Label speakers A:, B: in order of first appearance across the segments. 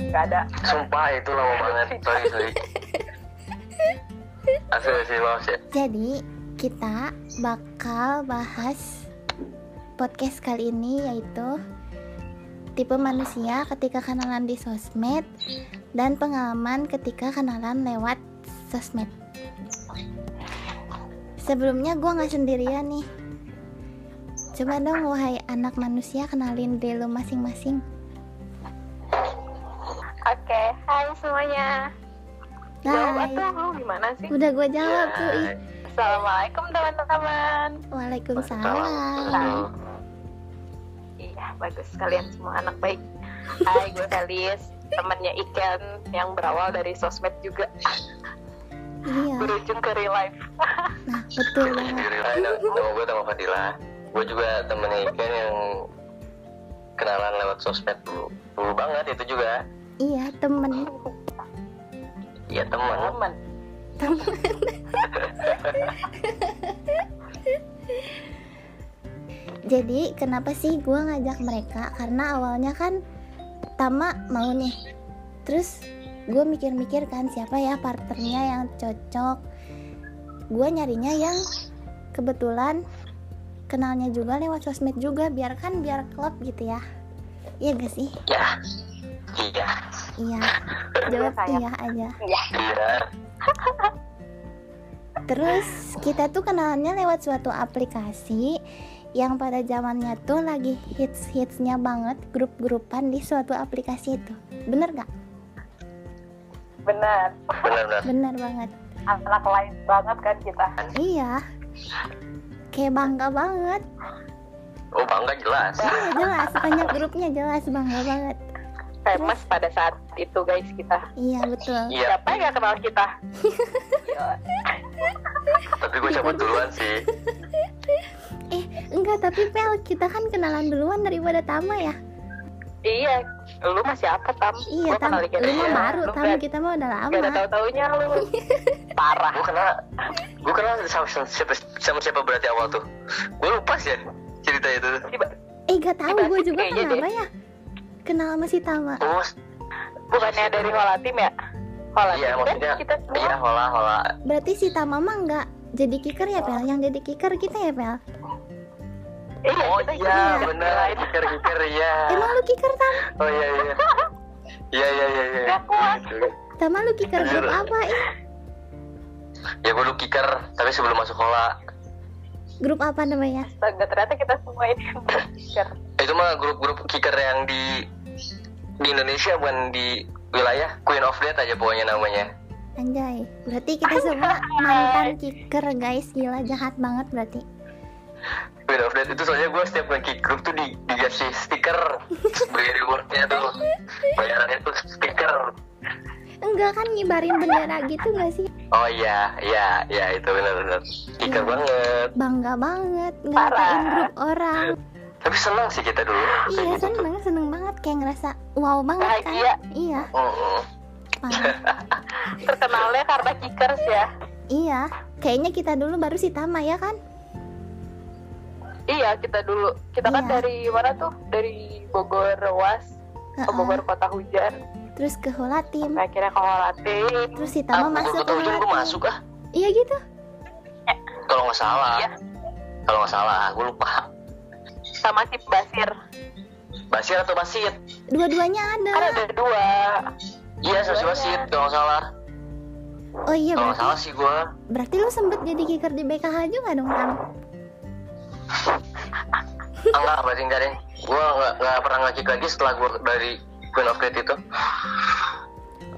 A: nggak ada
B: Sumpah itu lama banget. Sorry sorry. Asli sih maaf ya.
C: Jadi kita bakal bahas podcast kali ini yaitu tipe manusia ketika kenalan di sosmed dan pengalaman ketika kenalan lewat sosmed. Sebelumnya gue nggak sendirian nih. Coba dong wahai anak manusia kenalin diri lo masing-masing.
A: oke hai semuanya jawab
C: Hai.
A: atau lu gimana sih
C: Udah gue
B: Ya,
C: jawab tuh. Ih.
A: assalamualaikum teman-teman
C: Waalaikumsalam.
A: iya bagus kalian semua anak baik hai gue Felis temannya Iken yang berawal dari sosmed juga
C: Iya.
A: berujung ke real life
C: Nah, betul banget.
B: Sendiri lah. Nama nama gue nama Fadila. Gue juga temennya Ikan yang kenalan lewat sosmed dulu. Dulu banget itu juga.
C: Iya, temen.
B: Iya teman.
A: teman
C: Jadi, kenapa sih gue ngajak mereka? Karena awalnya kan Tama mau nih. Terus gue mikir-mikir kan siapa ya partnernya yang cocok. Gue nyarinya yang kebetulan kenalnya juga lewat sosmed juga biar kan biar klub gitu ya. Iya gak sih?
B: Ya. Iya.
C: Iya. Jawab
A: Sayap.
C: iya aja.
B: Iya.
C: Terus kita tuh kenalannya lewat suatu aplikasi yang pada zamannya tuh lagi hits-hitsnya banget grup-grupan di suatu aplikasi itu. Bener gak?
A: benar
B: Benar-benar.
C: Bener banget.
A: anak lain banget kan kita
C: Iya. Kayak bangga banget.
B: Oh bangga jelas.
C: Iya jelas, banyak grupnya jelas bangga banget.
A: famous pada saat itu guys kita
C: Iya betul.
B: Iya.
A: siapa yang gak kenal kita
B: Tapi gue cabut duluan sih.
C: Eh enggak tapi Pel kita kan kenalan duluan daripada Tama ya.
A: iya lu masih apa tam
C: Iya
A: Gua kenal
C: Tam,
A: Iken
C: lu mah
A: aja.
C: baru
A: Lu
C: Tam
A: nggak-
C: kita mah udah lama.
A: Gak ada tahu-taunya lu Parah
B: Gue kenal. Gue kenal sama siapa, sama siapa berarti awal tuh. Gue lupa sih ya cerita itu.
A: Tiba-
C: Eh gak tahu
A: Dibahas
C: gue juga
A: kayaknya deh.
C: kenapa ya. Kenal sama si Tama.
B: Oh
A: Bukannya dari Holatim ya Holatim
B: iya
A: kan
B: maksudnya.
A: kita semua
B: Iya hola hola.
C: Berarti si Tama mah nggak jadi kicker ya Pel? Yang jadi kicker kita ya Pel?
A: Iya,
B: Oh
A: kita
B: iya
A: ikut.
B: benar. Kiker kiker iya.
C: Emang lu kicker Tam?
B: Oh iya iya. Iya iya iya. iya.
A: Gak kuat.
C: Tama lu kicker grup apa? Ih,
B: Ya gue dulu kiker tapi sebelum masuk hola.
C: grup apa namanya?
A: Astaga, ternyata kita semua ini berpikir.
B: Itu mah grup-grup kiker yang di di Indonesia bukan di wilayah Queen of Death aja pokoknya namanya.
C: Anjay, berarti kita semua mantan kicker guys Gila jahat banget berarti
B: Queen of Death itu soalnya gue setiap nge-kick grup tuh di dikasih stiker bayar rewardnya tuh bayarannya tuh stiker
C: Enggak kan ngibarin bendera gitu gak sih?
B: oh iya iya iya itu benar-benar kiker banget
C: Bangga banget ngatain
A: Parah.
C: grup orang
B: tapi senang sih kita dulu
C: Iya seneng, seneng banget Kayak ngerasa wow banget kan
A: Bahagia.
C: Iya,
B: Mm-mm.
C: parah
A: Terkenalnya karena kickers ya.
C: Iya, kayaknya kita dulu baru si Tama ya kan?
A: Iya, kita dulu. Kita kan
C: Iya.
A: dari mana tuh? Dari Bogor Ruas ke
C: Heeh.
A: Bogor Kota Hujan.
C: Terus ke Holatim
A: Sampai akhirnya ke Holatin.
C: Terus si
B: Ah,
C: Tama masuk ke
B: betul gue
C: Holatim
B: masuk ah
C: Iya gitu
B: kalau nggak salah
A: Iya.
B: kalau nggak salah gue lupa
A: Sama si Basir.
B: Basir atau Basit
C: Dua-duanya ada.
A: Kan ada dua.
B: iya sama si Basit kalau nggak salah
C: Oh iya,
B: kalau nggak
C: berarti,
B: salah sih gue
C: berarti lu sempet jadi kicker di BKH juga dong, Tam?
B: enggak berarti enggak deh gue nggak nggak pernah nge-kick lagi setelah gue dari Queen of Death itu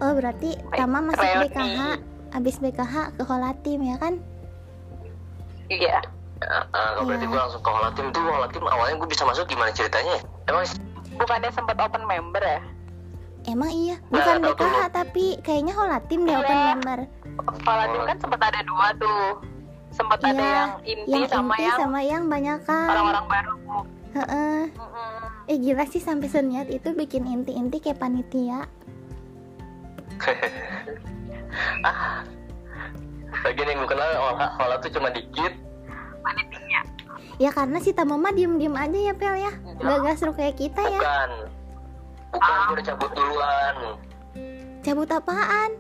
C: Oh, berarti Tama masuk
A: Reuni.
C: BKH, abis BKH ke Holatim ya kan?
A: Iya.
B: Ya, eh, kalau berarti
C: Iya.
B: gue langsung ke Holatim tuh Holatim awalnya gue bisa masuk gimana ceritanya ya? emang
A: Bukannya sempat open member ya?
C: Emang iya,
B: Nah,
C: bukan
B: tahu tuh
C: BKH tapi kayaknya Holatim deh
A: Iya.
C: open member.
A: Holatin kan sempat ada dua tuh. Sempat ada
C: Iya,
A: yang inti sama yang
C: sama yang banyak kan.
A: orang-orang baru.
C: Heeh.
A: Mm-mm.
C: Eh gila sih sampai seniat itu bikin inti-inti kayak panitia.
B: bagian yang gue kenal Hola, Hola tuh cuma dikit
A: Iya.
C: Ya karena si Tama mah diem-diem aja ya Pel ya. Gak gasruk kayak kita ya.
B: bukan bukan gue udah cabut duluan
C: Cabut apaan?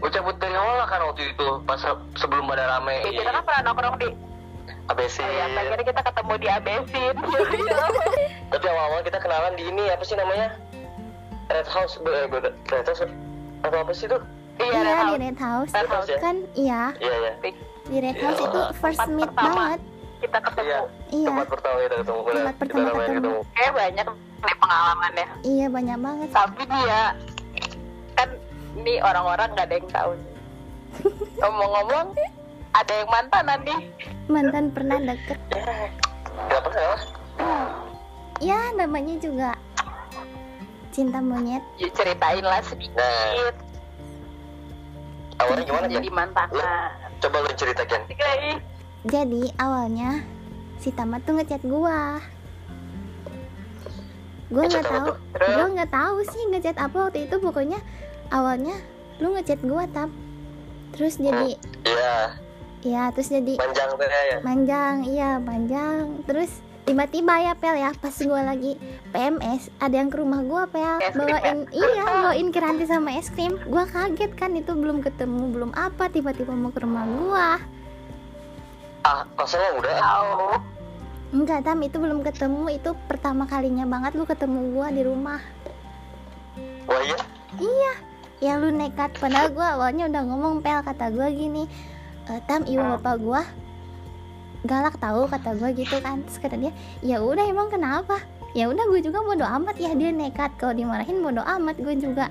B: gue cabut dari awal kan waktu itu pas se- sebelum pada rame
A: Ih, kita kan pernah nongkrong di
B: ABC
A: oh, ya, akhirnya kita ketemu di abesin
B: tapi awal-awal kita kenalan di ini apa sih namanya Red House eh, gue- Red House atau apa sih tuh
A: iya
C: Iya,
A: Renal.
C: di Red House.
A: Red House,
B: ya?
C: Kan iya,
B: iya iya
C: di Red House
B: Iya,
C: itu first
A: tempat
C: meet
A: pertama.
C: banget.
A: kita ketemu
B: iya
C: Iya.
B: tempat pertama kita ketemu benar.
C: Tempat
B: kita
C: pertama
B: namanya
C: ketemu.
B: ketemu
A: kayak eh, banyak nih pengalamannya
C: Iya, banyak banget.
A: tapi dia kan nih orang-orang nggak ada yang tahu nih. ngomong-ngomong ada yang mantanan nih
C: Mantan pernah deket.
B: nggak pernah lah
C: Ya, namanya juga cinta monyet.
A: ya ceritain lah sedikit
B: Nah, awalnya gimana Ken?
A: Iya. jadi mantanan
B: coba lu cerita Ken
A: Oke.
C: Jadi awalnya si Tama tuh ngechat gua. Gua
B: Ngechat
C: nggak
B: apa
C: tahu,
B: tuh? Eh?
A: Terus?
C: gua nggak tahu sih ngechat apa waktu itu. Pokoknya awalnya lu ngechat gua tam. Terus jadi,
B: iya
C: ya terus jadi
B: panjang tuh ya
C: manjang, iya manjang. Terus tiba-tiba ya pel ya pas gua lagi PMS ada yang ke rumah gua pel
A: Es krim,
C: bawain iya bawain keranti sama es krim gua kaget kan itu belum ketemu belum apa tiba-tiba mau ke rumah gua
B: ah masalah udah
A: tahu
C: Enggak, Tam, itu belum ketemu. Itu pertama kalinya banget lu ketemu gua di rumah.
B: wah iya
C: Ya lu nekat padahal gua awalnya udah ngomong pel kata gua gini. "E, Tam, iwa bapak gua galak tahu kata gua gitu kan. Terus kata dia, "Ya udah emang kenapa?" Ya udah gue juga bodo amat ya dia nekat kalau dimarahin bodo amat gue juga.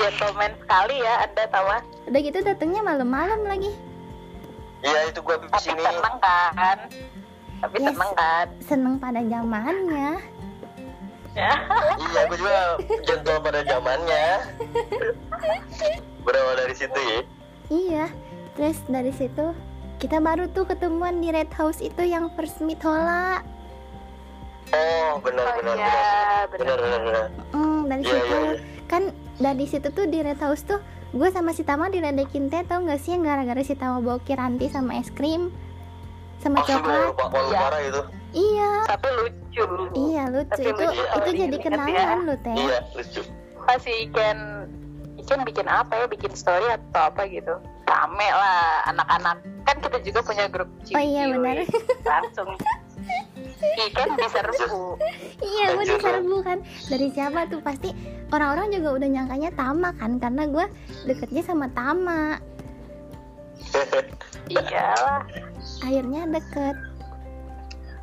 A: gentleman sekali ya anda tawa
C: Udah gitu datangnya malam-malam lagi.
B: iya itu gua di
A: tapi
B: sini
A: seneng kan tapi
C: Yes.
A: seneng kan
C: Seneng pada zamannya.
A: ya
B: iya gua juga gentle pada zamannya berawal dari situ ya
C: Iya. Terus dari situ kita baru tuh ketemuan di Red House itu yang first meet Hola.
B: oh
A: Oh,
B: benar benar
A: iya,
B: benar benar benar benar
C: Hmm, dari
B: Iya,
C: situ
B: iya, iya.
C: kan dari situ tuh di Red House tuh gue sama si Tama diledekin teh tau gak sih yang gara-gara si Tama bawa kiranti sama es krim sama
B: Asli gua
C: coklat
B: lupa kalau
A: Iya.
B: parah itu
C: iya
A: tapi lucu
C: iya lucu
A: Tapi
C: itu
A: lucu,
C: itu
A: ini
C: jadi
A: inget
C: kenangan lu teh
B: iya lucu
A: masih Iken Iken bikin apa ya bikin story atau apa gitu rame lah anak-anak kan kita juga punya grup
C: Oh iya,
A: CQ,
C: benar.
A: langsung Iken diserbu
C: iya gue
B: Lanjut,
C: diserbu kan dari siapa tuh pasti orang-orang juga udah nyangkanya Tama kan karena gue deketnya sama Tama
A: iyalah
C: akhirnya deket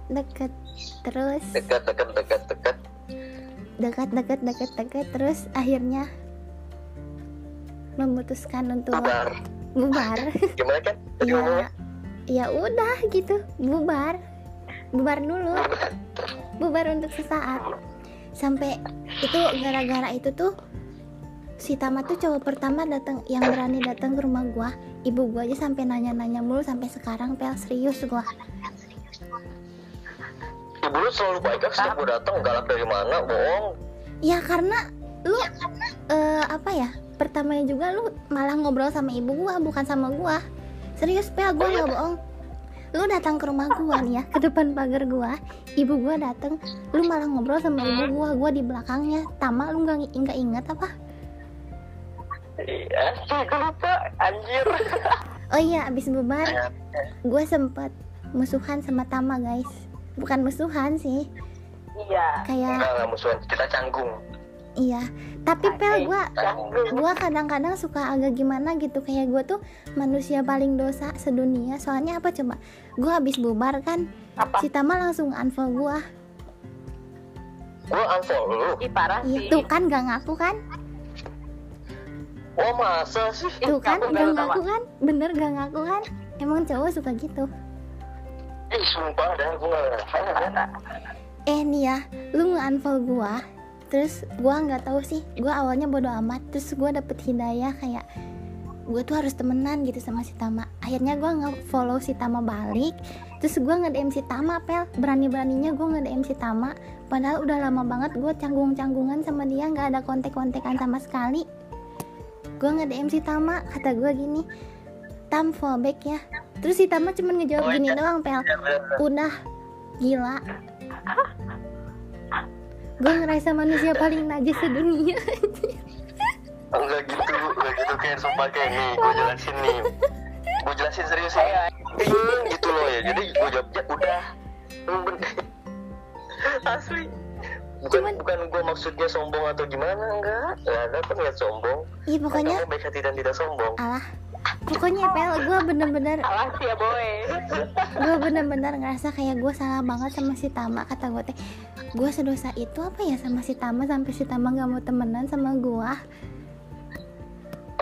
C: deket terus
B: dekat dekat dekat dekat
C: dekat deket deket deket terus akhirnya memutuskan untuk
B: bubar
C: bubar
B: gimana kan tadi ngomongnya
C: ya ya udah gitu bubar bubar dulu bubar untuk sesaat sampai itu gara-gara itu tuh si Tama tuh cowok pertama datang yang berani datang ke rumah gua ibu gua aja sampai nanya-nanya mulu sampai sekarang pel serius gua
B: ibu lu selalu baik kan setiap gua datang galak dari mana bohong
C: ya karena lu eh, apa ya pertamanya juga lu malah ngobrol sama ibu gua bukan sama gua serius pel
B: Oh,
C: gua
B: iya?
C: nggak bohong lu datang ke rumah gua nih ya ke depan pagar gua ibu gua datang lu malah ngobrol sama ibu gua gua di belakangnya tama lu nggak ngi- nggak inget apa
B: iya sih gua lupa anjir
C: oh iya abis bubar
B: Ya,
C: gua sempet musuhan sama tama guys bukan musuhan sih
A: iya
B: Nah,
C: kayak
B: enggak enggak musuhan kita canggung
C: iya tapi pel gua
B: canggung
C: gue kadang-kadang suka agak gimana gitu kayak gue tuh manusia paling dosa sedunia soalnya apa coba gue habis bubar kan
A: apa
C: si Tama langsung unfollow gue
B: gua unfollow lu
A: Ih, parah
C: iya
A: sih
C: tuh kan gak ngaku kan
B: oh masa sih
A: Ih,
C: tuh kan
A: ngaku
C: gak
A: nggak lu,
C: ngaku
A: Tama?
C: kan bener gak ngaku kan emang cowok suka gitu
B: ih sumpah dah gua kan? nggak
C: Iya,
B: ngerti
C: eh nih ya lu nge-unfollow gue terus gue nggak tahu sih gue awalnya bodo amat terus gue dapet hidayah kayak gue tuh harus temenan gitu sama si Tama akhirnya gue nge-follow si Tama balik terus gue nge-DM si Tama pel berani-beraninya gue nge-DM si Tama padahal udah lama banget gue canggung-canggungan sama dia nggak ada kontek-kontekan sama sekali gue nge-DM si Tama kata gue gini Tam follow back ya terus si Tama cuman ngejawab gini doang pel
B: Ya, bener.
C: udah gila gue ngerasa manusia paling najis sedunia
B: Enggak gitu, enggak gitu kayak sumpah kayak nih, gue jelasin nih Gue jelasin serius
C: Iya,
B: ya Hmm, gitu loh ya, jadi gue jawabnya udah Hmm, bener. Asli Bukan,
C: Cuman-
B: bukan gue maksudnya sombong atau gimana, enggak Enggak ada kan niat sombong
C: iya pokoknya
B: Kamu baik hati dan tidak sombong
C: alah pokoknya pel gue bener-bener
A: Alas ya boy.
C: gue bener-bener ngerasa kayak gue salah banget sama si Tama kata gue teh gue sedosa itu apa ya sama si Tama sampai si Tama gak mau temenan sama gue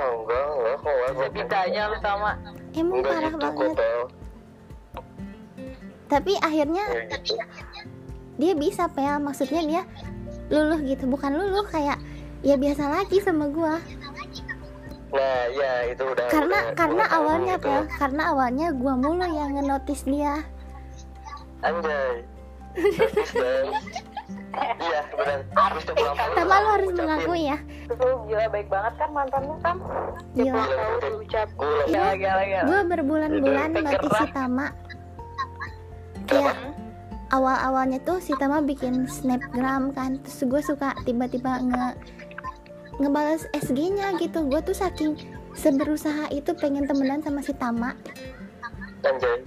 B: Oh enggak, enggak, kok enggak kok.
A: Sebitanya lu sama.
C: emang
B: Enggak
C: parah
B: gitu kok,
C: banget
B: Pel
C: tapi akhirnya
B: Enggak gitu
C: dia bisa pel maksudnya dia luluh gitu bukan luluh kayak ya biasa lagi sama gue
B: Nah, ya itu udah
C: karena
B: udah-
C: karena
B: udah tahu
C: awalnya
B: gitu.
C: pel karena awalnya gue mulu yang ngenotis dia
B: Anjay Terus dan Iya, benar Terus dia pulang pulang,
C: Tama lo harus
B: ucapin.
C: mengakui ya
A: Lu gila baik banget kan mantanmu kan. Ya
C: Gila.
A: pulang tahu lu ucap.
B: Gue
C: Iya.
B: ulang
A: Gila gila gila.
C: gue berbulan-bulan
A: Itu
C: notis si
A: gerak.
C: Tama
B: Iya.
C: kayak awal-awalnya tuh si Tama bikin snapgram kan terus gue suka tiba-tiba nge ngebales SG-nya gitu gue tuh saking seberusaha itu pengen temenan sama si Tama
B: Anjay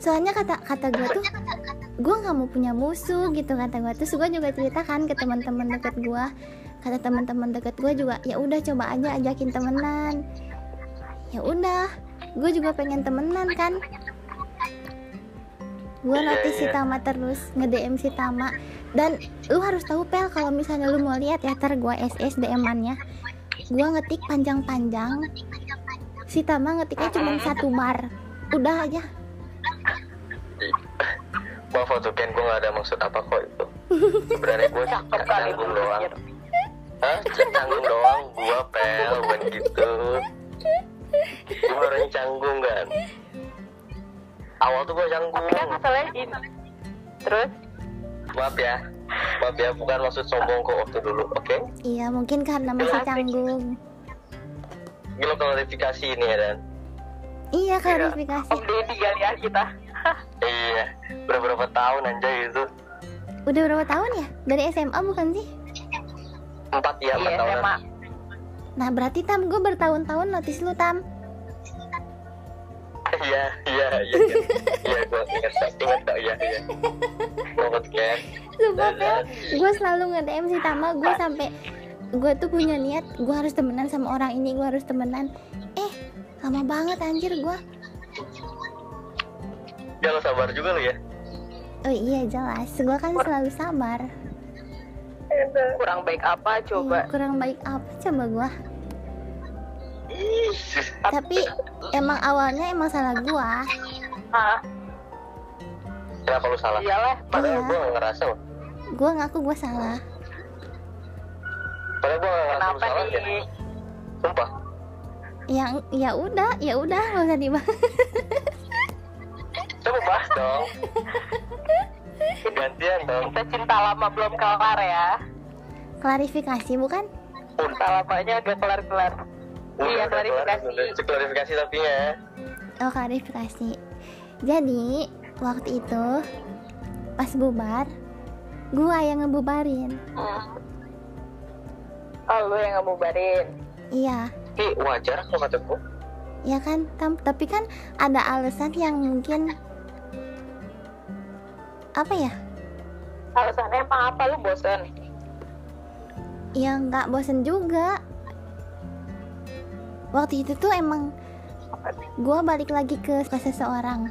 C: soalnya kata kata gue tuh gue nggak mau punya musuh gitu kata gue terus gue juga cerita kan ke teman-teman deket gue kata teman-teman deket gue juga ya udah coba aja ajakin temenan ya udah gue juga pengen temenan kan gue
B: Iya,
C: nanti si
B: iya.
C: Tama terus nge DM si Tama dan lu harus tahu pel kalau misalnya lu mau lihat ya ter gue SS DM-annya gue ngetik panjang-panjang si Tama ngetiknya cuma satu bar udah aja
B: Maaf tuh Ken, gue gak ada maksud apa kok itu Sebenarnya gue
A: Cakep kali lu
B: canggung doang
A: anjir.
B: Hah? Canggung doang, gue pel, bukan gitu Gue orangnya canggung kan Awal tuh gue canggung
A: Tapi kan masalahnya gini. Terus
B: Maaf ya Maaf ya, bukan maksud sombong kok waktu dulu, oke?
C: Iya mungkin karena masih
A: Asik.
C: canggung
B: Ini lo klarifikasi ini ya Dan
C: Iya
A: Om
C: klarifikasi
A: Deddy kali ya kita.
B: Iya, udah berapa tahun anjay itu
C: Udah berapa tahun ya? Dari SMA bukan sih?
B: Empat ya, empat
A: Iya
B: tahunan
A: SMA.
C: Nah berarti Tam gue bertahun-tahun notis lu Tam
B: Iya, iya, iya Iya, gue ingat, ingat kok, iya, iya Banget Ken
C: Sumpah
A: ya.
C: Pel Gue selalu nge-DM si Tama Gue sampai Gue tuh punya niat Gue harus temenan sama orang ini Gue harus temenan Eh lama banget anjir gue
B: Ya lo sabar juga lo ya
C: Oh iya jelas Gue kan selalu sabar
A: Kurang baik apa coba.
C: Ih, Iya, Kurang baik apa coba gue
B: Ih,
C: Tapi emang awalnya emang salah gue
A: Ah,
B: Ya kalau salah
A: iyalah.
B: Padahal
C: Iya.
B: gue gak ngerasa loh
C: Gue ngaku gue salah
B: Padahal gue gak ngerasa lo
A: Kenapa
B: salah Ken
A: nih?
B: Sumpah
C: Yang ya udah ya udah nggak usah dibahas
B: Coba bahas dong Gantian dong
A: Kita cinta lama belum kelar ya.
C: Klarifikasi bukan?
A: Cinta lamanya agak kelar-kelar. Iya,
B: Udah, udah, kelar, udah.
A: klarifikasi.
B: Klarifikasi tapi ya
C: Oh klarifikasi Jadi waktu itu Pas bubar Gua yang ngebubarin
A: Hmm. Oh, lu yang ngebubarin.
C: Iya
B: Ih, wajar kok kata gue
C: Ya kan Tam? Tapi kan ada alasan yang mungkin Apa ya
A: Alasannya emang apa lu bosen?
C: Ya nggak bosen juga Waktu itu tuh emang Gua balik lagi ke, ke seseorang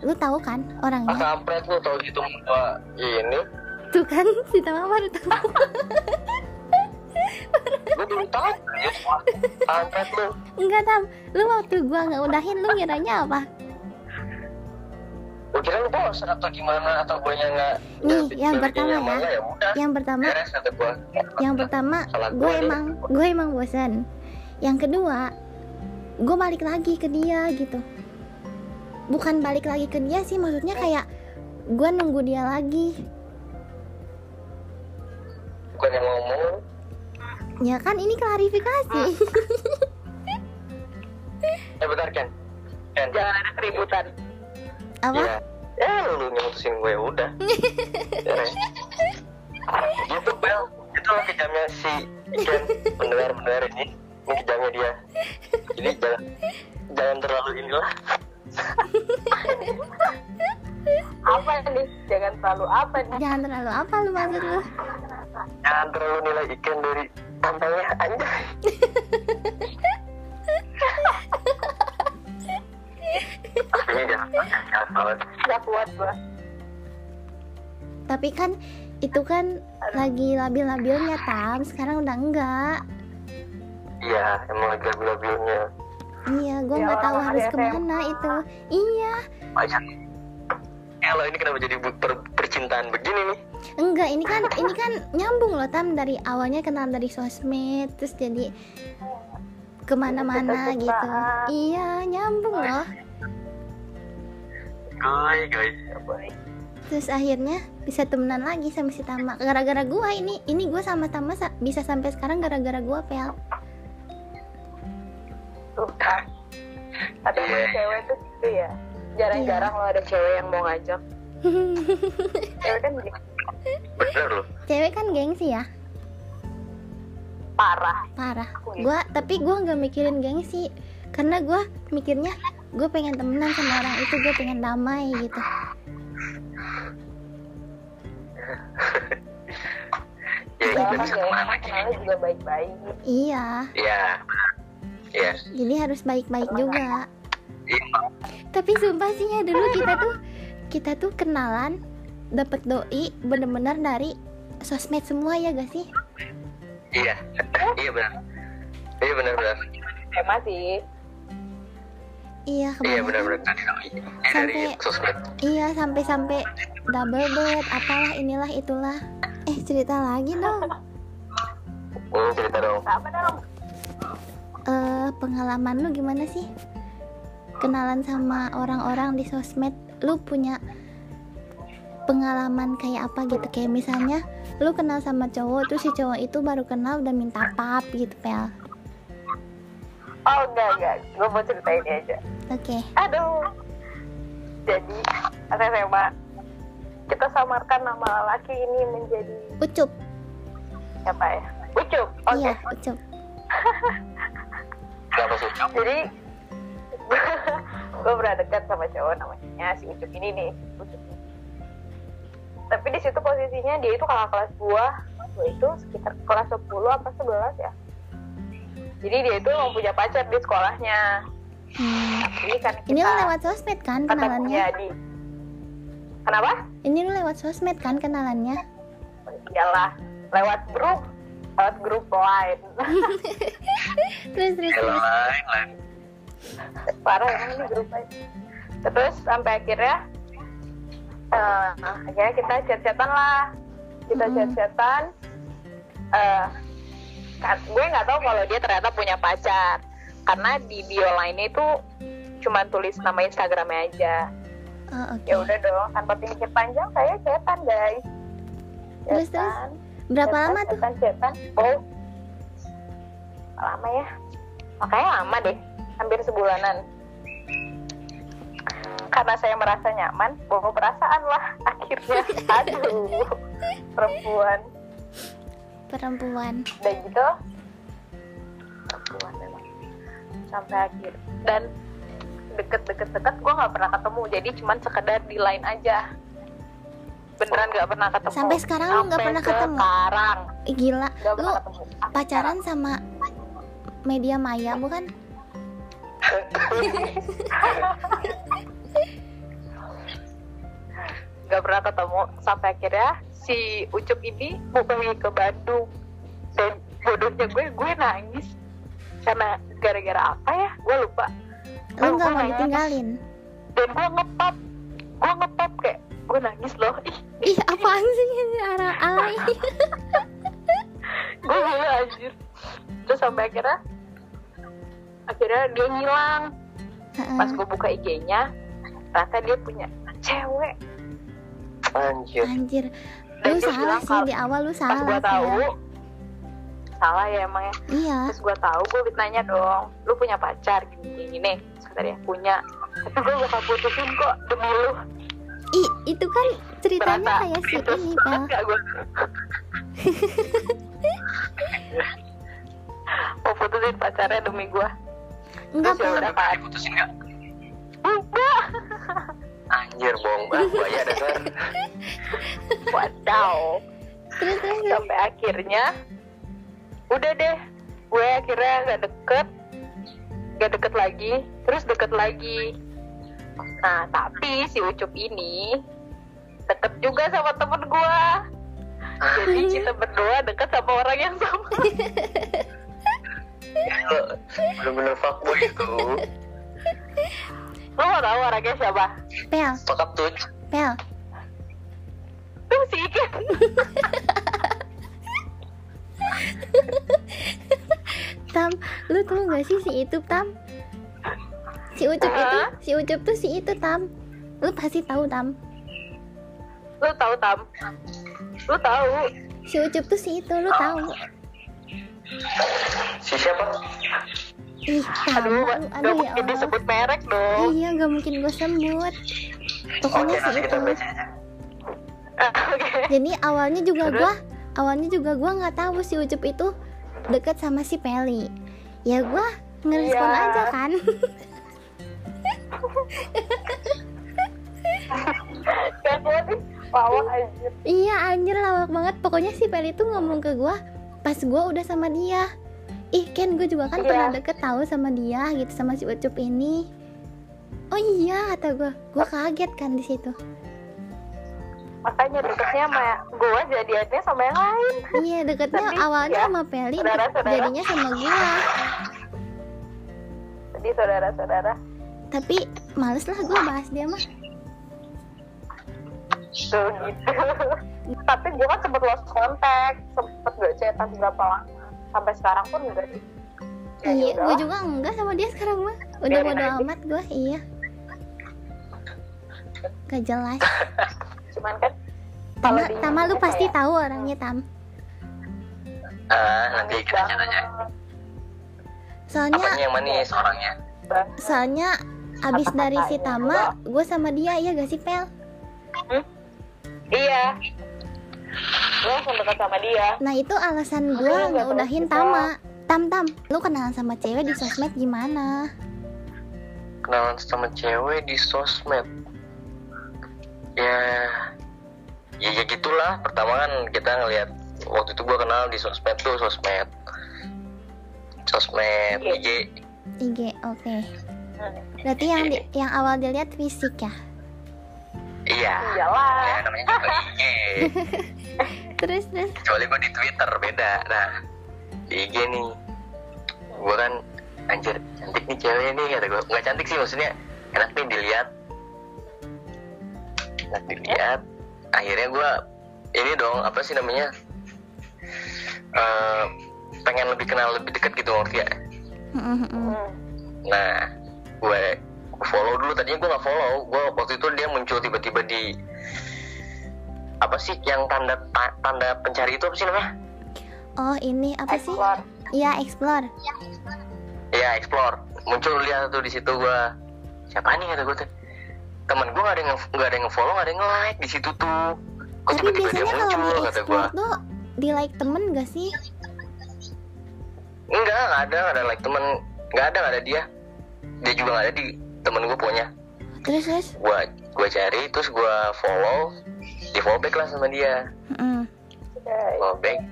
C: Lu tahu kan
B: Ah,
C: orangnya
B: kampret lu tau gitu gua ini
C: Tuh kan si Tama baru tahu
B: lu belum tahu ya kampret lu
C: Enggak Tam Lu waktu gua nggak udahin lu ngiranya apa
B: gua kira lu bosan atau gimana atau gue yang nggak
C: Nih,
B: nggak
C: yang
B: bikin
C: pertama
B: nyaman,
C: ya.
B: ya udah
C: yang pertama
B: beres kata gua
C: yang pertama
B: Salah
C: gue
B: gua nih.
C: emang gue emang bosan yang kedua gue balik lagi ke dia gitu bukan balik lagi ke dia sih maksudnya kayak gue nunggu dia lagi
B: bukan yang ngomong
C: ya kan ini klarifikasi
B: eh bentar Ken Ken
A: Ya, Jangan ada keributan.
C: apa
B: Iya. eh lu yang mutusin gue ya udah Beres. gitu bel itu lah kejamnya si Ken pendengar pendengar ini ini kejamnya dia jadi jangan jangan terlalu inilah
A: apa nih jangan terlalu apa nih
C: Jangan terlalu apa lu maksud lu?
B: jangan terlalu nilai ikan dari tampangnya anjay ini jangan jangan banget
A: nggak kuat gua
C: Tapi kan itu kan lagi labil-labilnya Tam, sekarang udah enggak.
B: iya emang lagi labil-labilnya
C: Iya, gua
A: Ya
C: nggak tahu
A: Allah,
C: harus
A: ada
C: kemana
A: SMA.
C: itu. Iya,
B: banyak Elo ini kenapa jadi bu- per- percintaan begini nih?
C: enggak ini kan ini kan nyambung loh Tam dari awalnya kenal dari sosmed terus jadi kemana-mana
A: Kita
C: gitu.
A: sukaan.
C: Iya, nyambung loh.
B: Guys, guys.
C: Terus akhirnya bisa temenan lagi sama si Tama. Gara-gara gua ini ini gua sama Tama sa- bisa sampai sekarang gara-gara gua pel.
A: tuh kan tapi
B: Iya.
A: cewek tuh gitu ya jarang-jarang lo ada cewek yang mau ngajak cewek kan gini,
B: Bener loh.
C: Cewek kan gengsi ya,
A: parah
C: parah.
A: Aku ya.
C: Gua tapi gua nggak mikirin gengsi karena gua mikirnya gue pengen temenan sama orang itu gue pengen damai gitu
B: Ya,
A: Soalnya
B: kita
A: kan
B: bisa
A: ceweknya
B: kemana lagi?
A: kenalnya juga baik-baik
C: iya
B: Iya. Iya.
C: jadi harus baik-baik juga
B: Iya.
C: tapi sumpah sih ya dulu kita tuh kita tuh kenalan dapet doi bener-bener dari sosmed semua ya gak sih
B: Iya. Iya benar. Iya benar benar.
A: emang sih
C: iya
B: Iya benar
C: kebanyakan
B: benar. Tadi kami ini dari
C: Sampai-
B: sosmed.
C: iya sampai-sampai double date apalah inilah itulah eh cerita lagi dong
B: Oh cerita dong.
A: apa dong
C: eh pengalaman lu gimana sih kenalan sama orang-orang di sosmed lu punya pengalaman kayak apa gitu kayak misalnya lu kenal sama cowok terus si cowok itu baru kenal udah minta pap gitu pel
A: oh enggak enggak gue mau ceritain ini aja
C: oke
A: aduh jadi pas SMA kita samarkan nama laki ini menjadi
C: ucup
A: siapa ya ucup oke
C: iya ucup
B: Kenapa sih?
A: jadi gue pernah dekat sama cowok namanya si ucup ini nih si ucup ini. tapi di situ posisinya dia itu kakak kelas gua waktu itu sekitar kelas 10 apa 11 ya jadi dia itu mau punya pacar di sekolahnya
C: Hmm.
A: tapi kan kita
C: ini lu lewat sosmed kan
A: ketemunya
C: kenalannya
A: di kenapa
C: ini lu lewat sosmed kan kenalannya
A: iyalah lewat grup lewat grup lain
C: terus terus
B: Yang
C: terus
B: Ya, lain lain.
A: parah emang ini grup lain terus sampai akhirnya eh, akhirnya kita chat-chatan lah kita
C: Mm-mm.
A: chat-chatan eh, kan- gue nggak tahu kalau dia ternyata punya pacar karena di bio lainnya itu cuma tulis nama instagramnya aja
C: oh, oke
A: ya udah dong tanpa pikir panjang saya chatan guys
C: Terus, terus?
A: Chatan.
C: berapa
A: Cetan,
C: lama tuh
A: cetan, cetan. Oh. Lama ya. Makanya lama deh. Hampir sebulanan. Karena saya merasa nyaman, bawa perasaan lah akhirnya. Aduh. Perempuan.
C: perempuan
A: Dan gitu. Perempuan memang. Sampai akhir. Dan deket-deket-deket gue nggak pernah ketemu. Jadi cuman sekedar di line aja. Beneran nggak pernah ketemu.
C: Sampai sekarang lu nggak
A: Sampai
C: pernah ketemu?
A: Sekarang
C: Ih, gila
A: nggak
C: lu
A: pernah ketemu. Sampai sekarang.
C: pacaran sama media maya bukan
A: nggak pernah ketemu sampai akhirnya si Ucup ini mau pergi ke Bandung dan bodohnya gue gue nangis karena gara-gara apa ya gue lupa
C: lu
A: Oh,
C: nggak
A: gue
C: mau
A: nangis.
C: ditinggalin
A: dan gue ngepop gue ngepop kayak gue nangis loh ih
C: Ih, apaan sih ini arah alay?
A: gue gila anjir terus sampai akhirnya akhirnya dia ngilang pas gue buka IG-nya ternyata dia punya cewek
B: Anjir.
C: Anjir,
A: dan dia
C: lu Iya, salah
A: bilang
C: sih
A: kalau-
C: di awal lu
A: pas
C: salah.
A: gue tahu
C: Fel.
A: salah ya emangnya
C: Iya,
A: terus gue tahu gue nanya dong lu punya pacar gini gini, gini. sebentar ya punya tapi gue bakal putusin kok demi lu
C: I, itu kan ceritanya
A: Berasa.
C: kayak si
A: Itu
C: ini
A: banget
C: pal
A: gak gue mau putusin pacarnya demi gue
C: enggak
A: Terus ya
C: pal
A: udah.
B: Pernah diputusin nggak?
A: enggak
B: Anjir bohong banget ya, buaya dasar.
A: wadaw
C: terus terus terus.
A: sampai akhirnya udah deh gue akhirnya nggak deket nggak deket lagi terus deket lagi nah tapi si ucup ini deket juga sama temen gue
C: Ah,
A: jadi
C: iya.
A: kita berdua deket sama orang yang sama
B: Lo Bener-bener fuckboy itu.
A: lu mau tahu orangnya siapa
C: pel
B: Fuck up tuh.
C: pel
A: tuh si Iken
C: tam lu tau gak sih si itu tam si ucup itu
A: Hah?
C: si ucup tuh si itu tam lu pasti tahu tam
A: lu tahu tam lu tahu
C: si ucup tuh si itu lu tahu
B: Si siapa?
C: ih tam
A: aduh
C: lu,
A: gak
C: aduh ya
A: mungkin
C: allah
A: disebut merek dong
C: iya gak mungkin gue sebut pokoknya
B: Oke
C: si
B: nanti
C: itu
B: kita baca aja.
A: oke
C: jadi awalnya juga
A: Terus?
C: gua awalnya juga gua nggak tahu si ucup itu deket sama si Peli ya gua ngerespon
A: Iya.
C: aja kan
A: gak kuat Kan nih Pawang anjir
C: Iya anjir lawak banget Pokoknya si Peli tuh ngomong ke gua Pas gua udah sama dia Ih Ken gue juga kan
A: Iya.
C: pernah deket tahu sama dia gitu Sama si Ucup ini Oh iya kata gua Gua kaget kan di situ.
A: makanya deketnya sama gue jadiannya sama yang lain
C: Iya deketnya
A: Tapi,
C: awalnya
A: ya,
C: sama Peli
A: saudara-saudara.
C: Jadinya sama gua
A: jadi saudara-saudara
C: Tapi males lah gua bahas dia mah
A: tuh gitu tapi gue kan sempet lost contact sempet gak cetan berapa lama sampai sekarang pun enggak sih Ya,
C: Iya
A: yaudah
C: gua
A: lah.
C: juga enggak sama dia sekarang mah
A: Biarin
C: Udah bodo
A: aja.
C: amat gua iya Gak jelas
A: cuman kan
C: Tama,
A: di-
C: Tama lu
A: apa
C: pasti
A: ya,
C: tahu orangnya Tam
B: Ah, nanti kita
C: Iya.
B: tanya.
C: Soalnya
B: Apanya yang manis orangnya?
A: bang.
C: Soalnya abis
A: Apa
C: dari si
A: katanya?
C: Tama, gue sama dia ya gak sih Pel?
A: iya gue langsung deket sama dia
C: Nah itu alasan gue
A: Makanya nggak
C: nggak
A: terus
C: udahin
A: kita-
C: Tama. Tam Tam, lu kenalan sama cewek di sosmed gimana?
B: kenalan sama cewek di sosmed ya ya, ya gitulah pertama kan kita ngelihat waktu itu gua kenal di sosmed tuh sosmed sosmed
A: Iya.
B: IG
C: IG, oke. Berarti yang di- yang awal dilihat fisik ya.
B: iya ya
A: iyalah
B: namanya juga IG
C: Terus terus,
B: kecuali gua di Twitter beda nah di IG nih gua kan anjir cantik nih cewek nih kata gua nggak cantik sih maksudnya enak nih dilihat enak dilihat akhirnya gua ini dong apa sih namanya Eh, pengen lebih kenal lebih dekat gitu ngerti ya
C: Mm, mm, mm.
A: Hmm.
B: Nah, gue follow dulu. Tadinya gue nggak follow. Gue waktu itu dia muncul tiba-tiba di apa sih yang tanda ta- tanda pencari itu apa sih namanya?
C: oh ini apa sih?
A: explore
C: Iya explore.
B: Ya explore. Muncul dia tuh di situ gue. Siapa nih kata gue tuh? Temen gue nggak ada yang nge- nggak ada yang follow, nggak ada yang like di situ tuh. Kok
C: Tapi
B: tiba-tiba dia
C: biasanya kalau di
B: muncul kata gue?
C: explore tuh di like temen gak sih?
B: Enggak, nggak ada, nggak ada like temen, nggak ada, nggak ada dia. Dia juga nggak ada di temen gue punya.
C: Terus terus,
B: Gue gue cari, terus gue follow, di follow back lah sama dia.
C: Mm, mm.
A: Guys.
B: Oh, baik.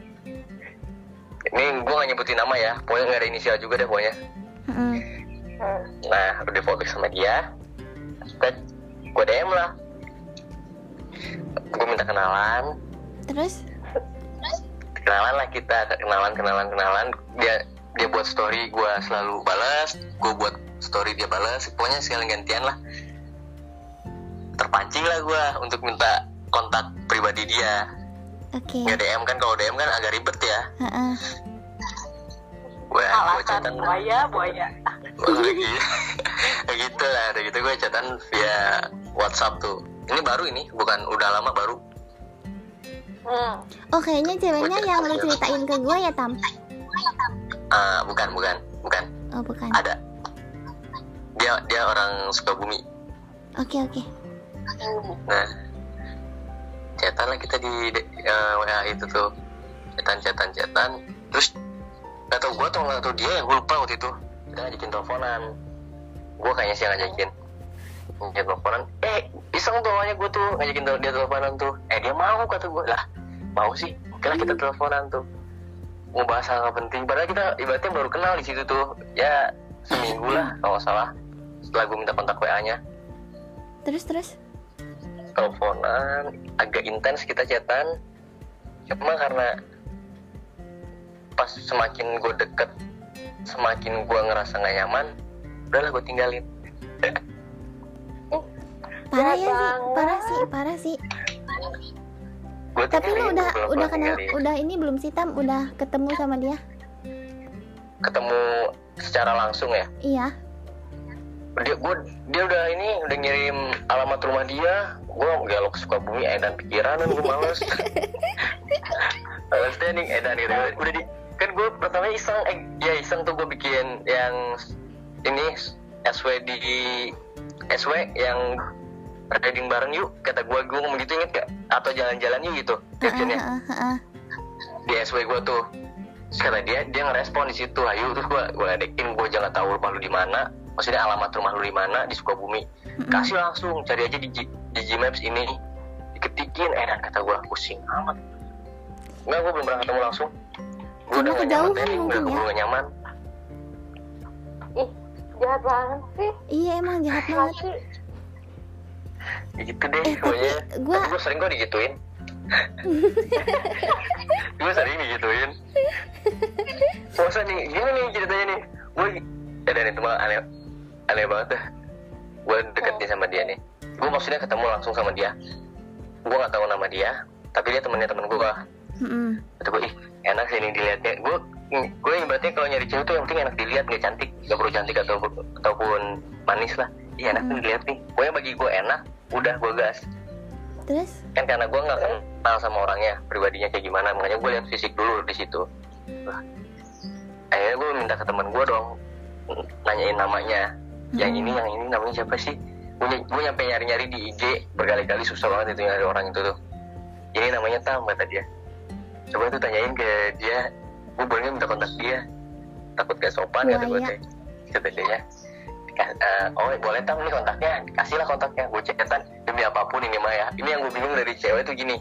B: Ini gue gak nyebutin nama ya, pokoknya gak ada inisial juga deh pokoknya.
C: Mm, mm.
A: Hmm.
B: Nah, udah fokus sama dia, kita gue DM lah. Gue minta kenalan,
C: terus,
B: kenalan lah kita, kenalan, kenalan, kenalan. Dia dia buat story gue selalu balas, gue buat story dia balas, pokoknya sekali gantian lah. Terpancing lah gue untuk minta kontak pribadi dia.
C: oke.
B: Nggak DM kan, kalau DM kan agak ribet ya.
C: Heeh.
B: Gue gue
A: alasan kan?
B: chatan.
A: buaya buaya
B: lagi gitu lah udah gitu gue chatan via WhatsApp tuh ini baru ini bukan udah lama baru
A: hmm.
C: Oh kayaknya ceweknya yang lu ceritain ke gue ya Tam?
B: Ah, bukan bukan bukan
C: Oh bukan.
B: ada dia dia orang Sukabumi
C: Oke oke.
B: nah cetan lah kita di de- eh, WA itu tuh cetan cetan cetan terus gak tau gue tuh gak tau dia yang gue lupa waktu itu kita ngajakin teleponan gue kayaknya sih yang ngajakin ngajakin teleponan eh iseng tuh awalnya gue tuh ngajakin tel- dia teleponan tuh eh dia mau kata gue lah mau sih oke lah kita teleponan tuh ngebahas hal nggak penting padahal kita ibaratnya baru kenal di situ tuh ya seminggu lah kalau nggak salah setelah gue minta kontak WA nya
C: terus terus
B: teleponan agak intens kita chatan cuma karena pas semakin gue deket semakin gue ngerasa nggak nyaman udahlah gue tinggalin
C: parah
A: Jahat
C: ya sih
A: banget.
C: parah sih parah sih
B: gue
C: tapi lu udah
B: gua pelan-pelan
C: udah kenal
B: tinggalin.
C: udah ini belum sih tam udah ketemu sama dia
B: ketemu secara langsung ya
C: iya
B: dia gue dia udah ini udah ngirim alamat rumah dia gue galak suka bumi edan pikiran gue males males deh nih edan gitu udah di kan gue pertama iseng eh, ya iseng tuh gue bikin yang ini SW di SW yang riding bareng yuk kata gue gue ngomong gitu inget gak atau jalan-jalan yuk gitu captionnya
C: Heeh, heeh,
B: di SW gue tuh Terus kata dia dia ngerespon di situ ayo terus gue gue ledekin gue jangan tahu rumah lu di mana maksudnya alamat rumah lu di mana di Sukabumi
C: heeh.
B: kasih langsung cari aja di, G- di Gmaps ini diketikin enak kata gue pusing amat enggak gue belum pernah ketemu langsung gue
C: Karena
B: udah gak nyaman
C: kejauhan
B: tadi udah
C: mungkin
B: gue
C: ya.
B: gak nyaman
A: ih jahat banget sih
C: iya emang jahat banget
A: pasti
B: Ya gitu deh
C: eh tapi
B: pokoknya
C: gue
B: gue sering gue digituin gue sering digituin Masa nih gimana nih ceritanya nih gue ya dan itu malah aneh aneh banget dah gue
C: Oh.
B: deketin sama dia nih gue maksudnya ketemu langsung sama dia gue gak tahu nama dia tapi dia temennya temen gue
C: heeh.
B: kata gue ih enak sih ini dilihatnya gue gue ibaratnya kalau nyari cewek tuh yang penting enak dilihat nggak cantik nggak perlu cantik atau ataupun manis lah iya enak
C: Hmm.
B: tuh dilihat nih pokoknya bagi gue enak udah gue gas
C: terus
B: kan karena gue nggak kenal sama orangnya pribadinya kayak gimana makanya gue lihat fisik dulu di situ Lah. akhirnya gue minta ke teman gue dong nanyain namanya yang ini
C: Hmm.
B: yang ini namanya siapa sih gue, ny- gue nyampe nyari nyari di IG berkali-kali susah banget itu nyari orang itu tuh ini namanya Tam kata dia coba tuh tanyain ke dia gue boleh nggak minta kontak dia takut gak sopan kata gue
C: Buaya.
B: teh kata dia ya Dika- eh, oh boleh tam nih kontaknya kasihlah kontaknya gue cetan demi apapun ini mah ya ini yang gue bingung dari cewek tuh gini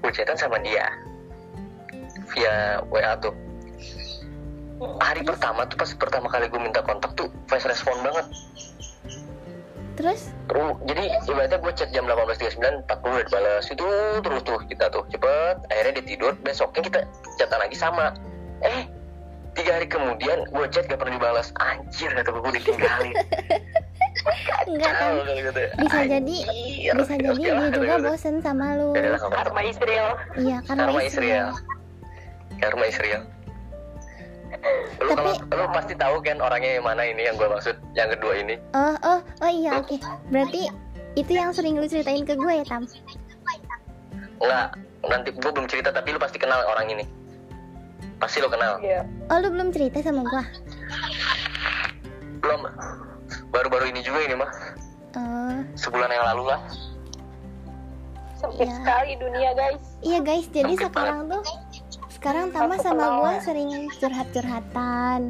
B: gue cetan sama dia via WA tuh hari pertama tuh pas pertama kali gue minta kontak tuh fast respon banget
C: terus
B: Terus, jadi ibaratnya gue chat jam 18.39 40 udah dibalas itu terus tuh kita tuh cepet akhirnya dia tidur besoknya kita chatan lagi sama eh tiga hari kemudian gue chat gak pernah dibalas anjir kata gue gue ditinggalin
C: enggak kan
B: Kacau, kata gue.
C: bisa jadi
B: Anjir,
C: bisa
B: oke
C: jadi dia
B: lah, kata
C: juga
B: gue.
C: bosen sama lu
B: Yaudah lah, nggak apa-apa.
A: karma Israel
C: iya
B: Karma
C: karena istri
B: Israel. Karma Israel. Lu
C: Tapi-
B: kalau lu pasti tahu kan orangnya yang mana ini yang gue maksud, yang kedua ini.
C: oh oh oh iya oke berarti itu yang sering lu ceritain ke gue ya tam
B: Enggak, nanti gue belum cerita tapi lu pasti kenal orang ini. Pasti lu kenal.
A: Iya.
C: oh lu belum cerita sama gue
B: Belum. Baru-baru ini juga ini mah,
C: oh
B: sebulan yang lalu lah.
A: sempit
C: Iya.
A: sekali dunia guys
C: Iya guys, jadi
B: Oke,
C: sekarang tuh sekarang Tama
A: Aku
C: sama
A: kenal
C: gue
A: ya.
C: sering curhat-curhatan.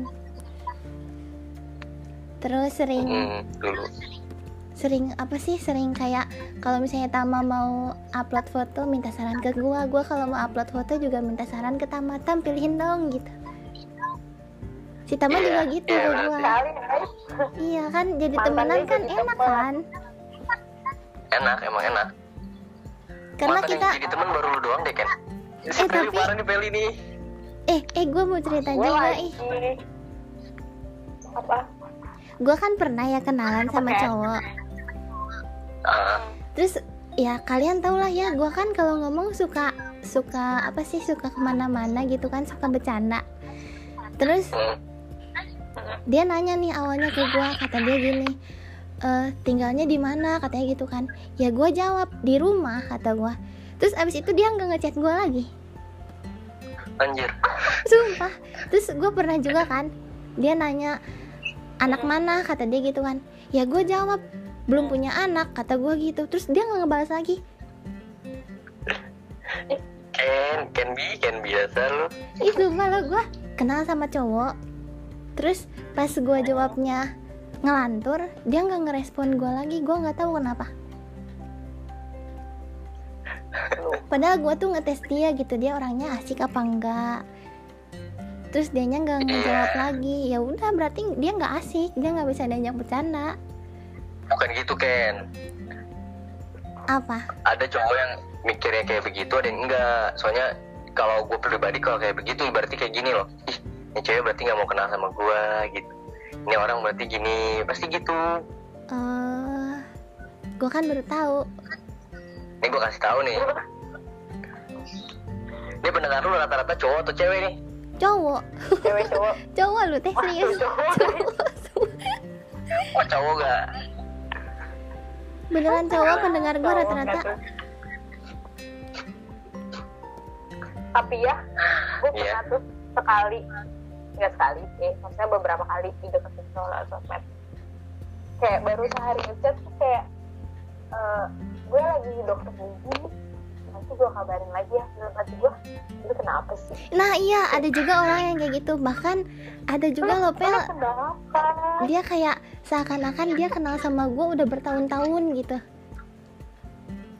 C: Terus sering
B: Hmm, dulu.
C: sering apa sih? Sering kayak kalau misalnya Tama mau upload foto minta saran ke gue, gue kalau mau upload foto juga minta saran ke Tama, Tam pilihin dong gitu. Si Tama
B: Iya,
C: juga gitu
B: iya,
C: ke
B: benar
C: gue.
A: sekali guys
C: Iya kan, jadi
A: Mantan
C: temenan
A: dia
C: kan
A: jadi
C: enak
A: teman.
C: kan?
B: Enak, emang enak.
C: Karena
B: Mantan
C: kita
B: yang jadi temen baru lu doang deh kan.
C: Eh,
B: Peli
C: tapi-
B: parah nih Peli nih.
C: eh eh gue mau cerita
A: Gua
C: juga eh.
A: lagi
C: ih.
A: apa
C: Gue kan pernah ya kenalan sama
A: Oke.
C: cowok.
B: Ah,
C: terus ya kalian tau lah ya gua kan kalau ngomong suka suka apa sih suka kemana-mana gitu kan suka bercanda terus
B: hmm.
C: dia nanya nih awalnya ke gua kata dia gini "Eh, tinggalnya di mana katanya gitu kan ya gua jawab di rumah kata gua terus abis itu dia nggak ngechat gua lagi
B: Anjir.
C: Sumpah. Terus gue pernah juga kan, dia nanya anak mana kata dia gitu kan. Ya gue jawab belum punya anak kata gue gitu terus dia nggak ngebalas lagi
B: Ken, Ken bi, Ken biasa lu.
C: Ih sumpah lo gue kenal sama cowok Terus pas gue jawabnya ngelantur Dia nggak ngerespon gue lagi Gue nggak tahu kenapa Padahal gue tuh ngetes dia gitu Dia orangnya asik apa enggak Terus dianya nggak ngejawab lagi ya udah berarti dia nggak asik Dia nggak bisa diajak bercanda
B: Bukan gitu Ken.
C: Apa?
B: Ada cowok yang mikirnya kayak begitu, ada yang enggak. Soalnya kalau gue pribadi kalau kayak begitu berarti kayak gini loh. Ih, ini cewek berarti nggak mau kenal sama gue gitu. Ini orang berarti gini, pasti gitu.
C: eh gue kan baru tahu
B: Ini gue kasih tahu nih. Ini pendengar lu rata-rata cowok atau cewek nih?
C: cowok
A: cewek cowok
C: cowok lu teh serius
A: cowok.
C: Cowok.
B: Oh cowok gak?
C: beneran cowok pendengar gue rata-rata
A: tapi ya gue pernah
B: Iya.
A: tuh sekali nggak sekali sih maksudnya beberapa kali di deketin cowok lewat sosmed kayak baru sehari ngechat tuh kayak eh, gue lagi di dokter gigi nanti gue kabarin lagi ya dalam hati gue lu kenapa sih
C: Nah iya ada juga orang yang kayak gitu Bahkan ada juga
A: Lu-
C: loh Pel
A: lu kenapa
C: Dia kayak seakan-akan dia kenal sama gue udah bertahun-tahun gitu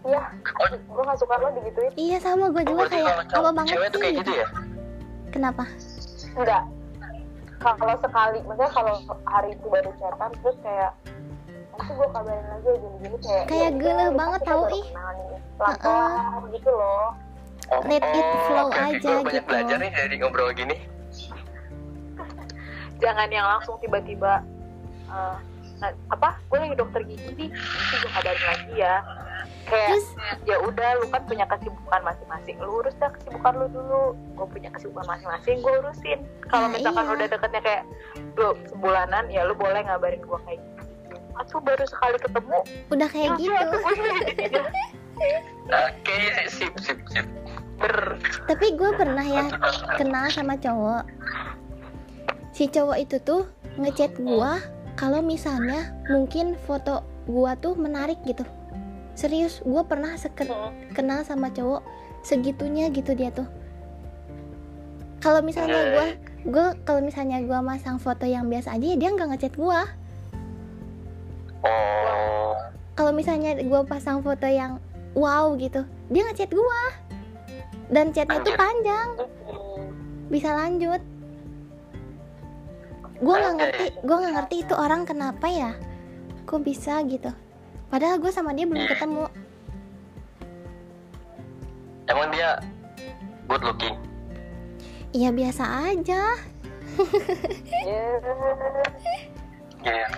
A: ya gue gak suka lo digituin
C: Iya sama gue
B: Oh,
C: juga
B: Berarti kalau
C: kayak apa
B: cowok,
C: banget
B: cewek tuh
C: sih
B: kayak gitu ya?
C: Kenapa?
A: enggak kalau sekali maksudnya kalau hari itu baru chatan terus kayak nanti gue kabarin lagi ya gini-gini kayak
C: Kayak
A: ya
C: geleh
A: udah,
C: banget
A: kita
C: tau,
A: baru
C: ih.
A: kenalan ini. ya." pelan-pelan gitu loh
B: Oh,
C: Let it flow
B: oke, oke.
C: aja
B: Gua banyak
C: gitu.
B: belajar nih dari ngobrol gini.
A: jangan yang langsung tiba-tiba eh, nah, apa gue lagi dokter gigi nih nanti gue kabarin lagi ya kayak
C: Terus
A: ya udah lu kan punya kesibukan masing-masing lu urus dah kesibukan lu dulu gue punya kesibukan masing-masing gue urusin kalau
C: Nah,
A: misalkan
C: iya.
A: udah deketnya kayak lu sebulanan ya lu boleh ngabarin gue kayak gitu aku baru sekali ketemu
C: udah kayak
A: ya
C: gitu
A: udah, tuh gue jadi-
B: Oke, sip, sip, sip. Ber.
C: Tapi gue pernah ya kenal sama cowok Si cowok itu tuh ngechat gue Kalau misalnya mungkin foto gue tuh menarik gitu Serius gue pernah seker kenal sama cowok segitunya gitu dia tuh kalau misalnya
B: Iya,
C: gua gue kalau misalnya gua masang foto yang biasa aja ya dia nggak ngechat gua
B: Oh.
C: kalau misalnya gua pasang foto yang wow gitu dia ngechat gua dan chatnya tuh panjang bisa lanjut gue nggak ngerti gue nggak ngerti itu orang kenapa ya kok bisa gitu padahal gue sama dia belum ketemu
B: Emang dia good looking?
C: iya biasa aja
A: Ya,
B: Iya.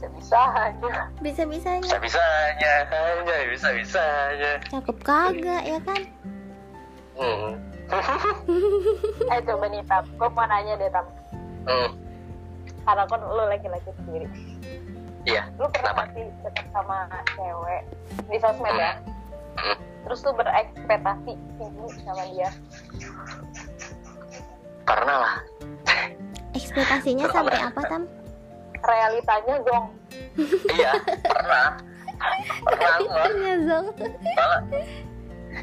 A: sebisa aja
C: bisa-bisanya
B: Bisa-bisanya, hanya bisa-bisanya.
C: cakep kagak ya kan
B: Hmm.
A: eh coba nih tam gue mau nanya deh tam
B: Hmm.
A: karena kan lu laki-laki sendiri
B: Iya.
A: lu pernah
B: Kenapa?
A: pasti deket sama cewek di sosmed ya
B: Hmm.
A: terus lu berekspektasi tinggi sama dia
B: Pernah lah.
C: ekspektasinya sampai apa tam
A: realitanya gong
B: iya, pernah. Pernah gua.
C: Iya, Zong.
B: Malah.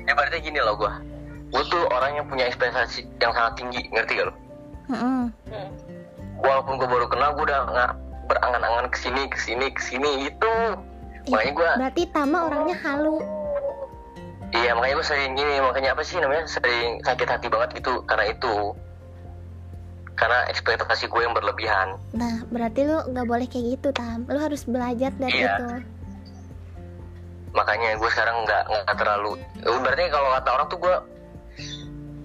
B: Ya berarti gini loh gua. Gua tuh orang yang punya ekspektasi yang sangat tinggi, ngerti gak lo?
C: Mm-mm.
A: Hmm.
B: Walaupun gua baru kenal, gua udah nggak berangan-angan kesini, kesini, kesini itu.
C: Ih,
B: gitu. Makanya gua
C: Iya. berarti Tama orangnya halu
B: Iya makanya gue sering gini makanya apa sih namanya sering sakit hati banget gitu karena itu karena ekspektasi gue yang berlebihan
C: nah berarti lu nggak boleh kayak gitu Tam lu harus belajar dari
B: Iya.
C: itu
B: makanya gue sekarang nggak nggak terlalu Eh, berarti kalau kata orang tuh gue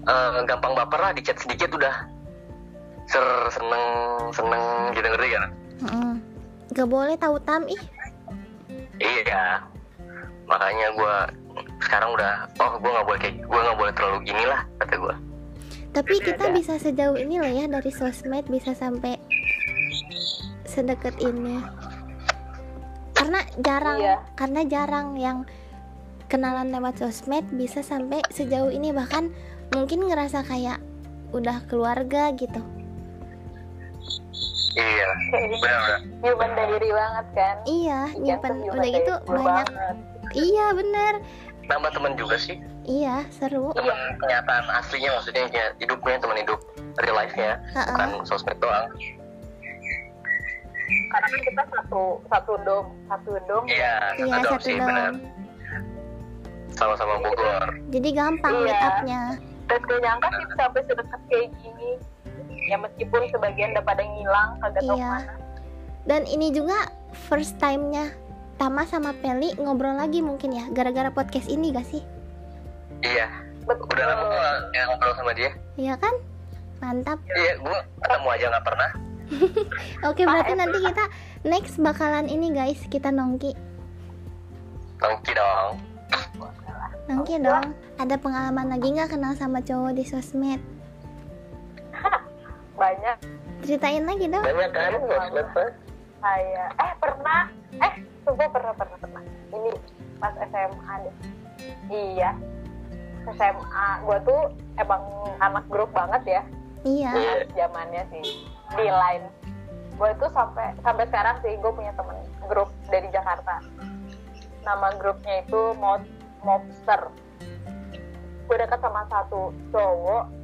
B: eh, gampang baper lah dicat sedikit udah ser seneng seneng gitu ngerti kan
C: Mm-mm. nggak boleh tahu Tam ih
B: iya makanya gue sekarang udah oh gue nggak boleh kayak gue nggak boleh terlalu gini lah kata gue
C: tapi kita bisa sejauh ini loh ya dari sosmed bisa sampai sedekat ini karena jarang
A: Iya.
C: karena jarang yang kenalan lewat sosmed bisa sampai sejauh ini bahkan mungkin ngerasa kayak udah keluarga gitu
B: iya
A: Jadi
B: benar
A: human diary banget kan.
C: iya
A: Jangan
C: nyimpen
A: tuh human
C: udah gitu
A: diary dulu
C: banyak
A: banget.
C: iya bener
B: nambah teman juga sih
C: iya seru
A: Iya.
B: teman kenyataan aslinya maksudnya kayak hidupnya teman hidup real life nya bukan
C: Heeh.
B: sosmed doang
A: Karena kan kita satu satu dom, satu dom.
B: iya
C: iya
B: satu dong
C: satu
B: sih benar
C: dong
B: sama-sama Bogor
C: jadi gampang
A: Iya.
C: meet upnya
A: Dan gue nyangka sih sampai sedekat kayak gini. Ya meskipun sebagian udah pada ngilang kagak tau
C: Iya.
A: kemana.
C: dan ini juga first time nya Tama sama Peli ngobrol lagi mungkin ya gara-gara podcast ini gak sih
B: iya
A: Betul.
B: udah lama gua nggak ngobrol sama dia
C: iya kan mantap
B: iya gua ketemu aja nggak pernah
C: oke
A: Ah,
C: berarti
A: eh,
C: nanti kita next bakalan ini guys kita nongki
B: tongki dong
A: Oh,
C: nongki dong ada pengalaman lagi nggak kenal sama cowok di sosmed
A: Banyak
C: ceritain lagi dong
B: banyak kan sosmed Pak?
A: kayak eh pernah eh sumpah pernah pernah pernah ini pas SMA deh iya SMA gue tuh emang anak grup banget ya
B: Iya.
C: iya
A: pas zamannya sih di line gue tuh sampai sampai sekarang sih gue punya temen grup dari Jakarta nama grupnya itu Mo- Mobster gue deket sama satu cowok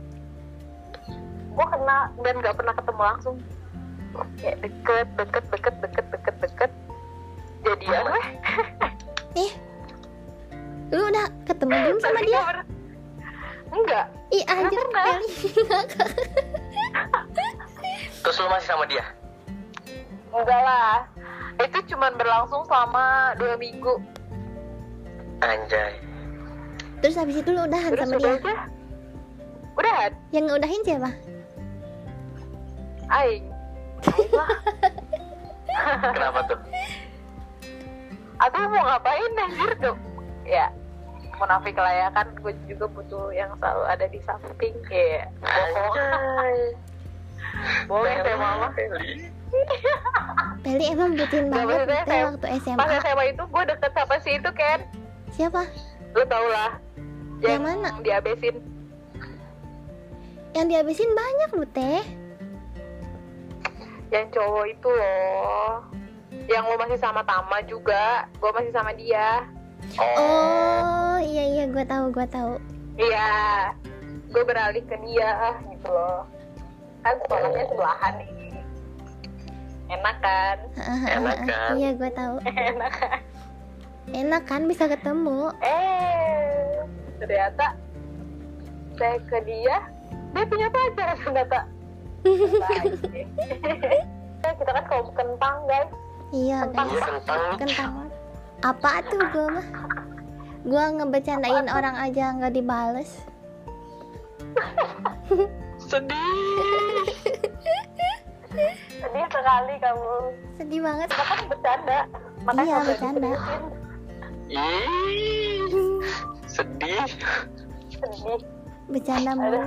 A: gue kenal dan gak pernah ketemu langsung kayak deket deket deket deket deket deket jadian weh
C: lu udah ketemu belum sama
A: Tapi
C: dia
A: nggak pernah- enggak
C: ih anjir
A: pernah.
C: Peli
B: terus lu masih sama dia
A: enggak lah itu cuman berlangsung selama dua minggu
B: anjay
C: terus habis itu lu udahan
A: terus
C: Kan sama
A: udah
C: dia
A: aja udahan
C: yang ngeudahin siapa
A: aing Aing lah
B: kenapa tuh
A: aku mau ngapain anjir tuh ya munafik lah ya kan gue juga butuh yang selalu ada di samping ya bohong bohong saya mama
C: Peli emang bututin
A: Nggak,
C: banget
A: maksudnya
C: itu
A: kayak
C: waktu
A: pas
C: SMA
A: SMA itu gue deket sama si itu kan
C: siapa
A: lu tau lah
C: Yang mana?
A: diabesin
C: yang dihabisin banyak lu teh
A: yang cowok itu loh yang lo masih sama Tama juga gue masih sama dia
B: oh
C: oh iya iya gue tahu gue tahu
A: iya gue beralih ke dia gitu loh kan sekolahnya sebelahan nih enak kan
B: Enak kan?
C: iya gue tahu
A: enak kan
C: enak kan bisa ketemu
A: eh ternyata saya ke dia dia punya pacar ternyata Baik. kita kan kaum kentang guys
C: iya
A: Kentang.
B: iya
C: guys
B: kentang
C: kentang apa tuh gue mah gue ngebecandain orang aja nggak dibales
A: sedih sedih sekali kamu
C: sedih banget
A: kita kan bercanda
C: Iya,
A: makanya sampai
C: bercanda.
A: diseriusin.
B: Ih, sedih
A: sedih
C: bercanda mulu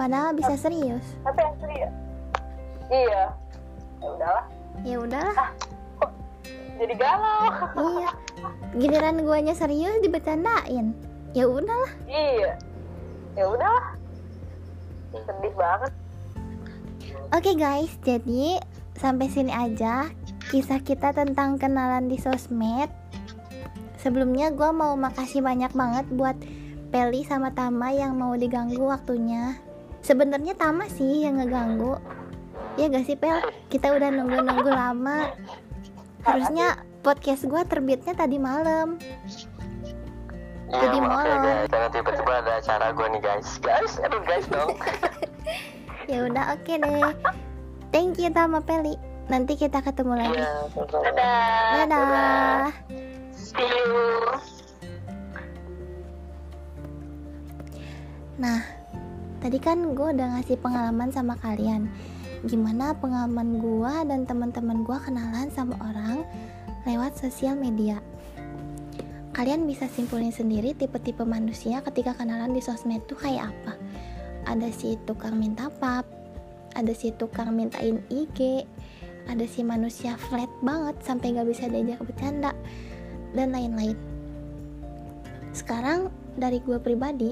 C: padahal bisa serius
A: tapi yang serius iya ya udahlah
C: ya udahlah
A: jadi galau
C: iya giliran guanya serius dibecandain ya udahlah
A: iya ya udahlah sedih banget
C: oke guys jadi sampai sini aja kisah kita tentang kenalan di sosmed sebelumnya gue mau makasih banyak banget buat Peli sama Tama yang mau diganggu waktunya sebenarnya Tama sih yang ngeganggu ya gak sih Pel kita udah nunggu-nunggu lama harusnya podcast gue terbitnya tadi malam
B: Iya,
C: Jadi
B: maaf ya
C: molor.
B: guys, karena tiba-tiba ada acara gue nih guys Guys, aduh guys dong
C: ya udah oke deh thank you Tama Peli nanti kita ketemu lagi
B: Iya, sama-sama.
A: dadah
C: dadah
A: see you
C: Nah, tadi kan gue udah ngasih pengalaman sama kalian. Gimana pengalaman gue dan teman-teman gue kenalan sama orang lewat sosial media. Kalian bisa simpulin sendiri tipe-tipe manusia ketika kenalan di sosmed tuh kayak apa. Ada si tukang minta pap, ada si tukang mintain IG, ada si manusia flat banget sampai gak bisa diajak bercanda, dan lain-lain. Sekarang dari gue pribadi,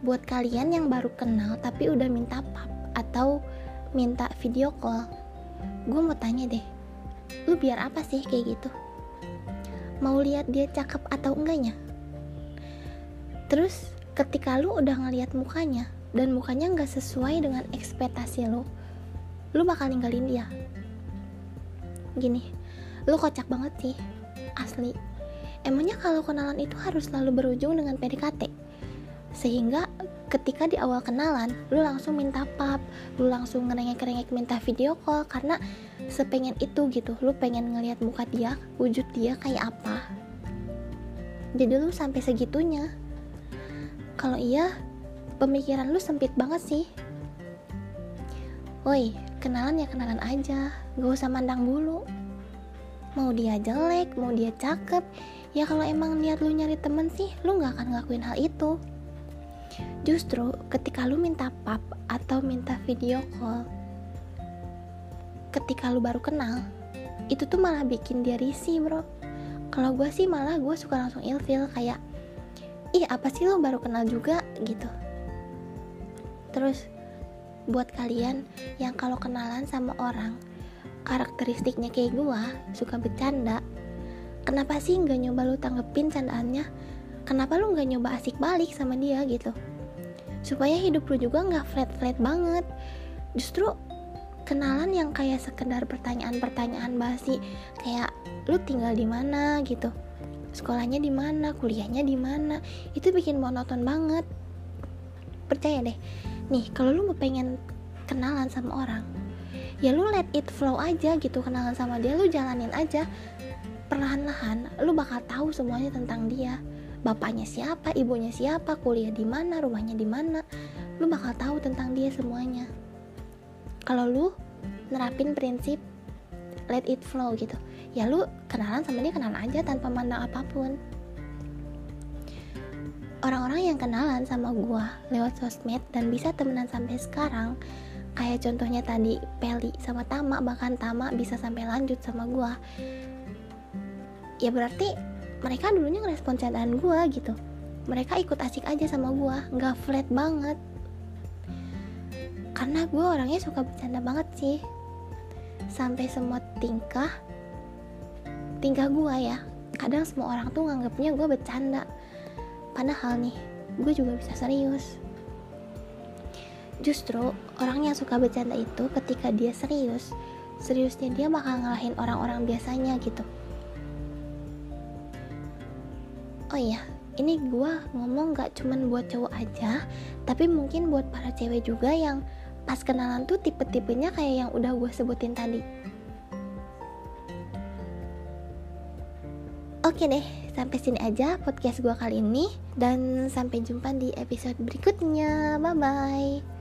C: buat kalian yang baru kenal tapi udah minta pap atau minta video call gue mau tanya deh lu biar apa sih kayak gitu mau lihat dia cakep atau enggaknya terus ketika lu udah ngelihat mukanya dan mukanya nggak sesuai dengan ekspektasi lu lu bakal ninggalin dia gini lu kocak banget sih asli emangnya kalau kenalan itu harus selalu berujung dengan PDKT sehingga ketika di awal kenalan lu langsung minta pap lu langsung ngerengek-rengek minta video call karena sepengen itu gitu lu pengen ngelihat muka dia wujud dia kayak apa jadi lu sampai segitunya kalau iya pemikiran lu sempit banget sih woi kenalan ya kenalan aja gak usah mandang bulu mau dia jelek mau dia cakep ya kalau emang niat lu nyari temen sih lu nggak akan ngelakuin hal itu justru ketika lu minta pap atau minta video call ketika lu baru kenal itu tuh malah bikin dia risih bro kalau gue sih malah gue suka langsung ilfil kayak ih apa sih lu baru kenal juga gitu terus buat kalian yang kalau kenalan sama orang karakteristiknya kayak gue suka bercanda kenapa sih nggak nyoba lu tanggepin candaannya kenapa lu nggak nyoba asik balik sama dia gitu supaya hidup lu juga nggak flat flat banget justru kenalan yang kayak sekedar pertanyaan-pertanyaan basi kayak lu tinggal di mana gitu sekolahnya di mana kuliahnya di mana itu bikin monoton banget percaya deh nih kalau lu mau pengen kenalan sama orang ya lu let it flow aja gitu kenalan sama dia lu jalanin aja perlahan-lahan lu bakal tahu semuanya tentang dia bapaknya siapa, ibunya siapa, kuliah di mana, rumahnya di mana. Lu bakal tahu tentang dia semuanya. Kalau lu nerapin prinsip let it flow gitu. Ya lu kenalan sama dia kenalan aja tanpa mandang apapun. Orang-orang yang kenalan sama gua lewat sosmed dan bisa temenan sampai sekarang kayak contohnya tadi Peli sama Tama bahkan Tama bisa sampai lanjut sama gua ya berarti mereka dulunya ngerespon candaan gue gitu mereka ikut asik aja sama gue nggak flat banget karena gue orangnya suka bercanda banget sih sampai semua tingkah tingkah gue ya kadang semua orang tuh nganggapnya gue bercanda padahal nih gue juga bisa serius justru orang yang suka bercanda itu ketika dia serius seriusnya dia bakal ngalahin orang-orang biasanya gitu Oh iya, ini gue ngomong gak cuman buat cowok aja, tapi mungkin buat para cewek juga yang pas kenalan tuh tipe-tipenya kayak yang udah gue sebutin tadi. Oke deh, sampai sini aja podcast gue kali ini, dan sampai jumpa di episode berikutnya. Bye bye.